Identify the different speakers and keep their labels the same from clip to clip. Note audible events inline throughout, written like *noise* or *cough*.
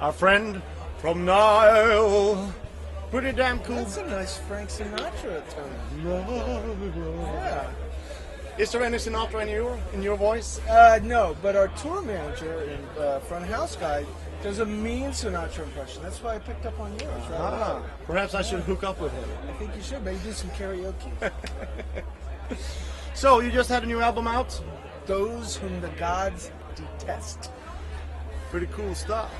Speaker 1: Our friend from Nile. Pretty damn cool.
Speaker 2: That's a nice Frank Sinatra tone. Yeah.
Speaker 1: Is there any Sinatra in your in your voice?
Speaker 2: Uh, no, but our tour manager and uh, front house guy does a mean Sinatra impression. That's why I picked up on yours. Right
Speaker 1: Ah, perhaps I should hook up with him.
Speaker 2: away. I think you should maybe do some karaoke. *laughs*
Speaker 1: So you just had a new album out.
Speaker 2: Those whom the gods detest.
Speaker 1: Pretty cool stuff.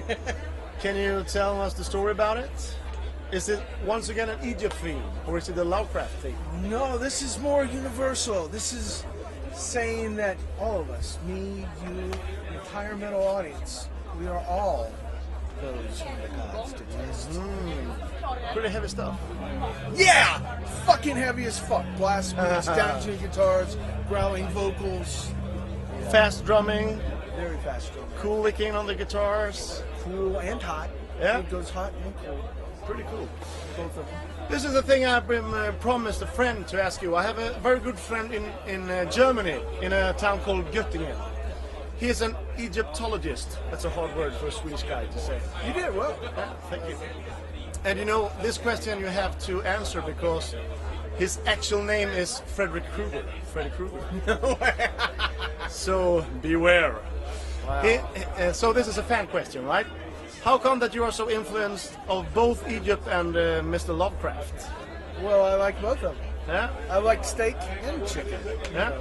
Speaker 1: *laughs* Can you tell us the story about it? Is it once again an Egypt theme, or is it a Lovecraft theme?
Speaker 2: No, this is more universal. This is saying that all of us, me, you, the entire metal audience, we are all those whom the gods detest.
Speaker 1: Pretty heavy stuff.
Speaker 2: Yeah! Fucking heavy as fuck. Blast
Speaker 1: Uh-huh.
Speaker 2: beats, downtuned guitars, growling vocals,
Speaker 1: Fast drumming,
Speaker 2: very fast drumming.
Speaker 1: cool licking on the guitars.
Speaker 2: cool and hot.
Speaker 1: Yeah.
Speaker 2: It goes hot and cold.
Speaker 1: Pretty cool.
Speaker 2: Both of them.
Speaker 1: This is the thing I've been uh, promised a friend to ask you. I have a very good friend in, in uh, Germany, in a town called Göttingen. He is an Egyptologist. That's a hard word for a Swedish guy to say.
Speaker 2: You did well.
Speaker 1: Yeah, thank you. And you know, this question you have to answer because his actual name is Frederick Krueger. Frederick Krueger. *laughs* so beware. He- uh, so this is a fan question, right? How come that you are so influenced of both Egypt and uh, Mr. Lovecraft?
Speaker 2: Well, I like both of them.
Speaker 1: Yeah,
Speaker 2: I like steak and chicken. oh,
Speaker 1: yeah.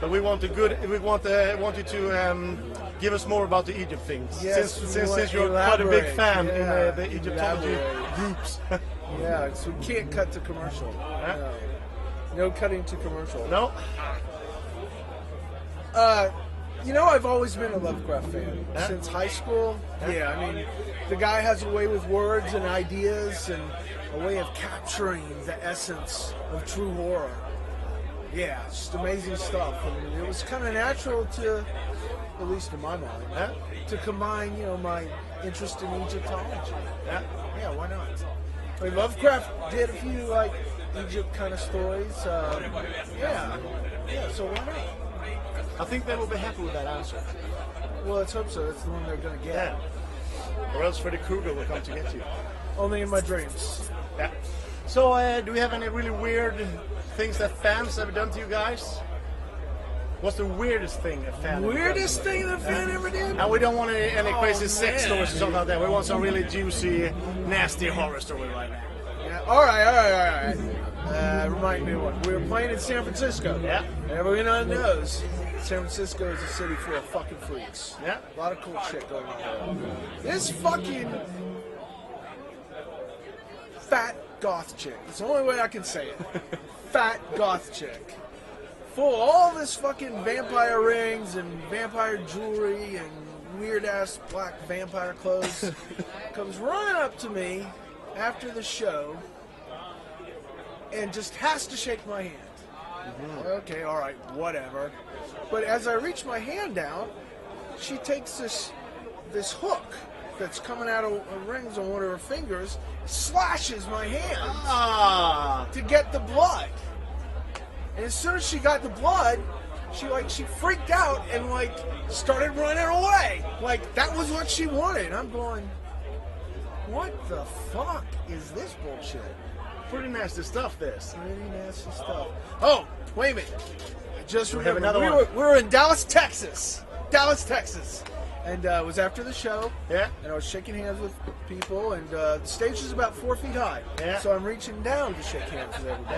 Speaker 1: But we want a good. We want uh, want you to um, give us more about the Egypt things.
Speaker 2: Yes, we
Speaker 1: since since,
Speaker 2: want
Speaker 1: since you're quite a big
Speaker 2: elaborate,
Speaker 1: fan in uh,
Speaker 2: yeah,
Speaker 1: the Egyptology
Speaker 2: elaborate.
Speaker 1: groups. *laughs*
Speaker 2: Yeah, so we can't cut to commercial.
Speaker 1: Huh?
Speaker 2: No, no cutting to commercial.
Speaker 1: no.
Speaker 2: Uh, you know, I've always been a Lovecraft fan
Speaker 1: Huh?
Speaker 2: since high school. Yeah, I mean, the guy has a way with words and ideas and a way of capturing the essence of true horror. Yeah, it's just amazing stuff. I mean, it was kind of natural to, at least in my mind,
Speaker 1: Yeah,
Speaker 2: to combine, you know, my interest in Egyptology.
Speaker 1: yeah.
Speaker 2: Yeah, why not? I mean, Lovecraft did a few like Egypt kind of stories. Um, yeah, yeah. So why not?
Speaker 1: I think they will be happy with that answer.
Speaker 2: Well, let's hope so. That's the one they're gonna get.
Speaker 1: Yeah. Or else Freddy Krueger will come to get you.
Speaker 2: Only in my dreams.
Speaker 1: Yeah. So, uh, do we have any really weird things that fans have done to you guys? What's the weirdest thing a fan? ever done to
Speaker 2: Weirdest thing the fan ever did.
Speaker 1: you? And we don't want any, any crazy sex
Speaker 2: man.
Speaker 1: stories or something like that. We want some really juicy, nasty horror story right now.
Speaker 2: Yeah, all right, all right, all right. Uh, remind me of one. We were playing in San Francisco.
Speaker 1: Yeah.
Speaker 2: Everyone knows San Francisco is a city full of fucking freaks.
Speaker 1: Yeah.
Speaker 2: A lot of cool shit going on there. This fucking fat goth chick. It's the only way I can
Speaker 1: *laughs*
Speaker 2: say it. fat goth chick. Full of all this fucking vampire rings and vampire jewelry and weird ass black vampire clothes comes running up to me after the show and just has to shake my hand. Okay, all right, whatever. But as I reach my hand out, she takes this this hook that's coming out of of rings on one of her fingers, slashes my hand
Speaker 1: Ah.
Speaker 2: to get the blood. And as soon as she got the blood, she like she freaked out and like started running away. Like that was what she wanted. And I'm going, what the fuck is this bullshit?
Speaker 1: Pretty nasty stuff, this.
Speaker 2: Pretty nasty stuff. Oh, wait a minute. I just
Speaker 1: have
Speaker 2: remembered.
Speaker 1: another
Speaker 2: we,
Speaker 1: one.
Speaker 2: Were, we were in Dallas, Texas. Dallas, Texas. And uh, it was after the show.
Speaker 1: Yeah.
Speaker 2: And I was shaking hands with people, and uh, the stage is about four feet high.
Speaker 1: Yeah.
Speaker 2: So I'm reaching down to shake hands with everybody.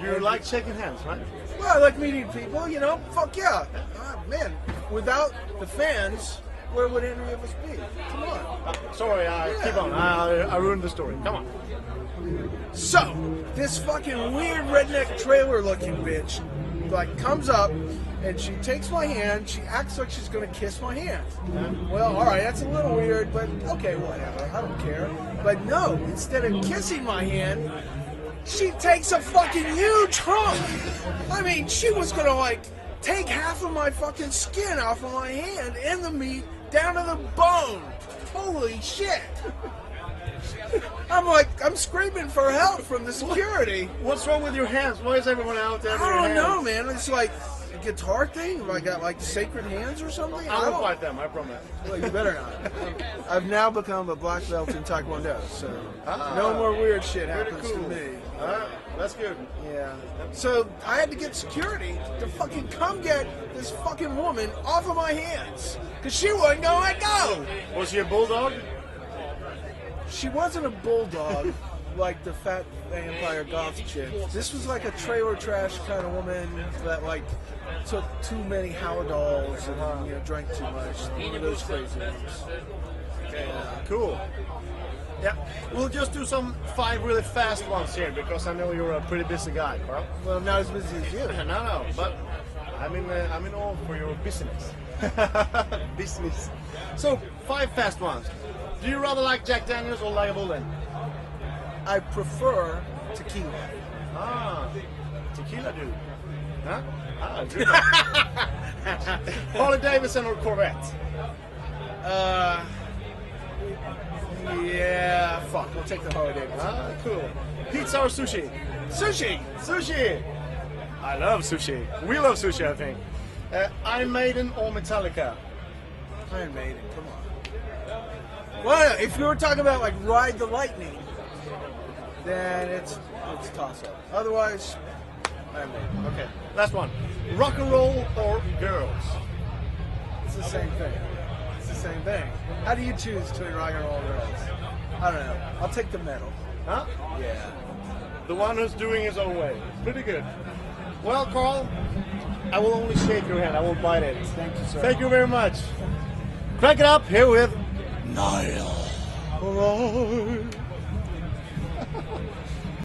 Speaker 1: Yeah. You like shaking hands, right?
Speaker 2: Well, I like meeting people, you know? Fuck yeah. Ah, man, without the fans, where would any of us be? Come on.
Speaker 1: Sorry, I keep on. I, I ruined the story. Come on.
Speaker 2: So, this fucking weird redneck trailer looking bitch, like, comes up and she takes my hand. She acts like she's gonna kiss my hand. Well, alright, that's a little weird, but okay, whatever. I don't care. But no, instead of kissing my hand, she takes a fucking huge hunk. I mean, she was gonna, like, take half of my fucking skin off of my hand and the meat down to the bone. Holy shit. I'm like, I'm screaming for help from the security.
Speaker 1: What's wrong with your hands? Why is everyone out there? with
Speaker 2: I
Speaker 1: your
Speaker 2: don't know,
Speaker 1: hands?
Speaker 2: man. It's like guitar thing? Have I got like sacred hands or something?
Speaker 1: I
Speaker 2: don't-
Speaker 1: will fight them, I promise.
Speaker 2: Well, you better not.
Speaker 1: *laughs*
Speaker 2: I've now become a black belt in Taekwondo, so
Speaker 1: Ah.
Speaker 2: no more weird shit
Speaker 1: Pretty
Speaker 2: happens
Speaker 1: cool.
Speaker 2: to me.
Speaker 1: Alright, that's good.
Speaker 2: Yeah. So I had to get security to fucking come get this fucking woman off of my hands because she wouldn't go let go.
Speaker 1: Was he a bulldog?
Speaker 2: She wasn't a bulldog *laughs* like the fat vampire goth chick. This was like a trailer trash kind of woman that like took too many Howdolls and you know, drank too much. One of those crazy ones.
Speaker 1: Cool. Yeah, we'll just do some five really fast ones here because I know you're a pretty busy guy, Carl.
Speaker 2: Well, I'm not as busy as you.
Speaker 1: No, no, but I'm in, uh, I'm in all for your business. *laughs* business. So, five fast ones. Do you rather like Jack Daniels or Lagavulin?
Speaker 2: I prefer tequila.
Speaker 1: Ah, tequila dude. Huh? Ah, good. Harley Davidson or Corvette?
Speaker 2: Uh, yeah, fuck. We'll take the Harley Davidson.
Speaker 1: Ah, cool. Pizza or sushi?
Speaker 2: Sushi.
Speaker 1: Sushi! I love sushi. We love sushi, I think. Uh, Iron Maiden or Metallica?
Speaker 2: Iron Maiden. Come on. Well, if you were talking about like ride the lightning, then it's it's toss up. Otherwise, Iron Maiden.
Speaker 1: Okay, last one. Rock and roll or girls?
Speaker 2: It's the same thing. It's the same thing. How do you choose between rock and roll and girls? I don't know. I'll take the metal.
Speaker 1: Huh?
Speaker 2: Yeah.
Speaker 1: The one who's doing his own way. Pretty good. Well, Carl, I will only shake your hand. I won't bite it.
Speaker 2: Thank you, sir.
Speaker 1: Thank you very much. Crack it up here with
Speaker 2: Niall.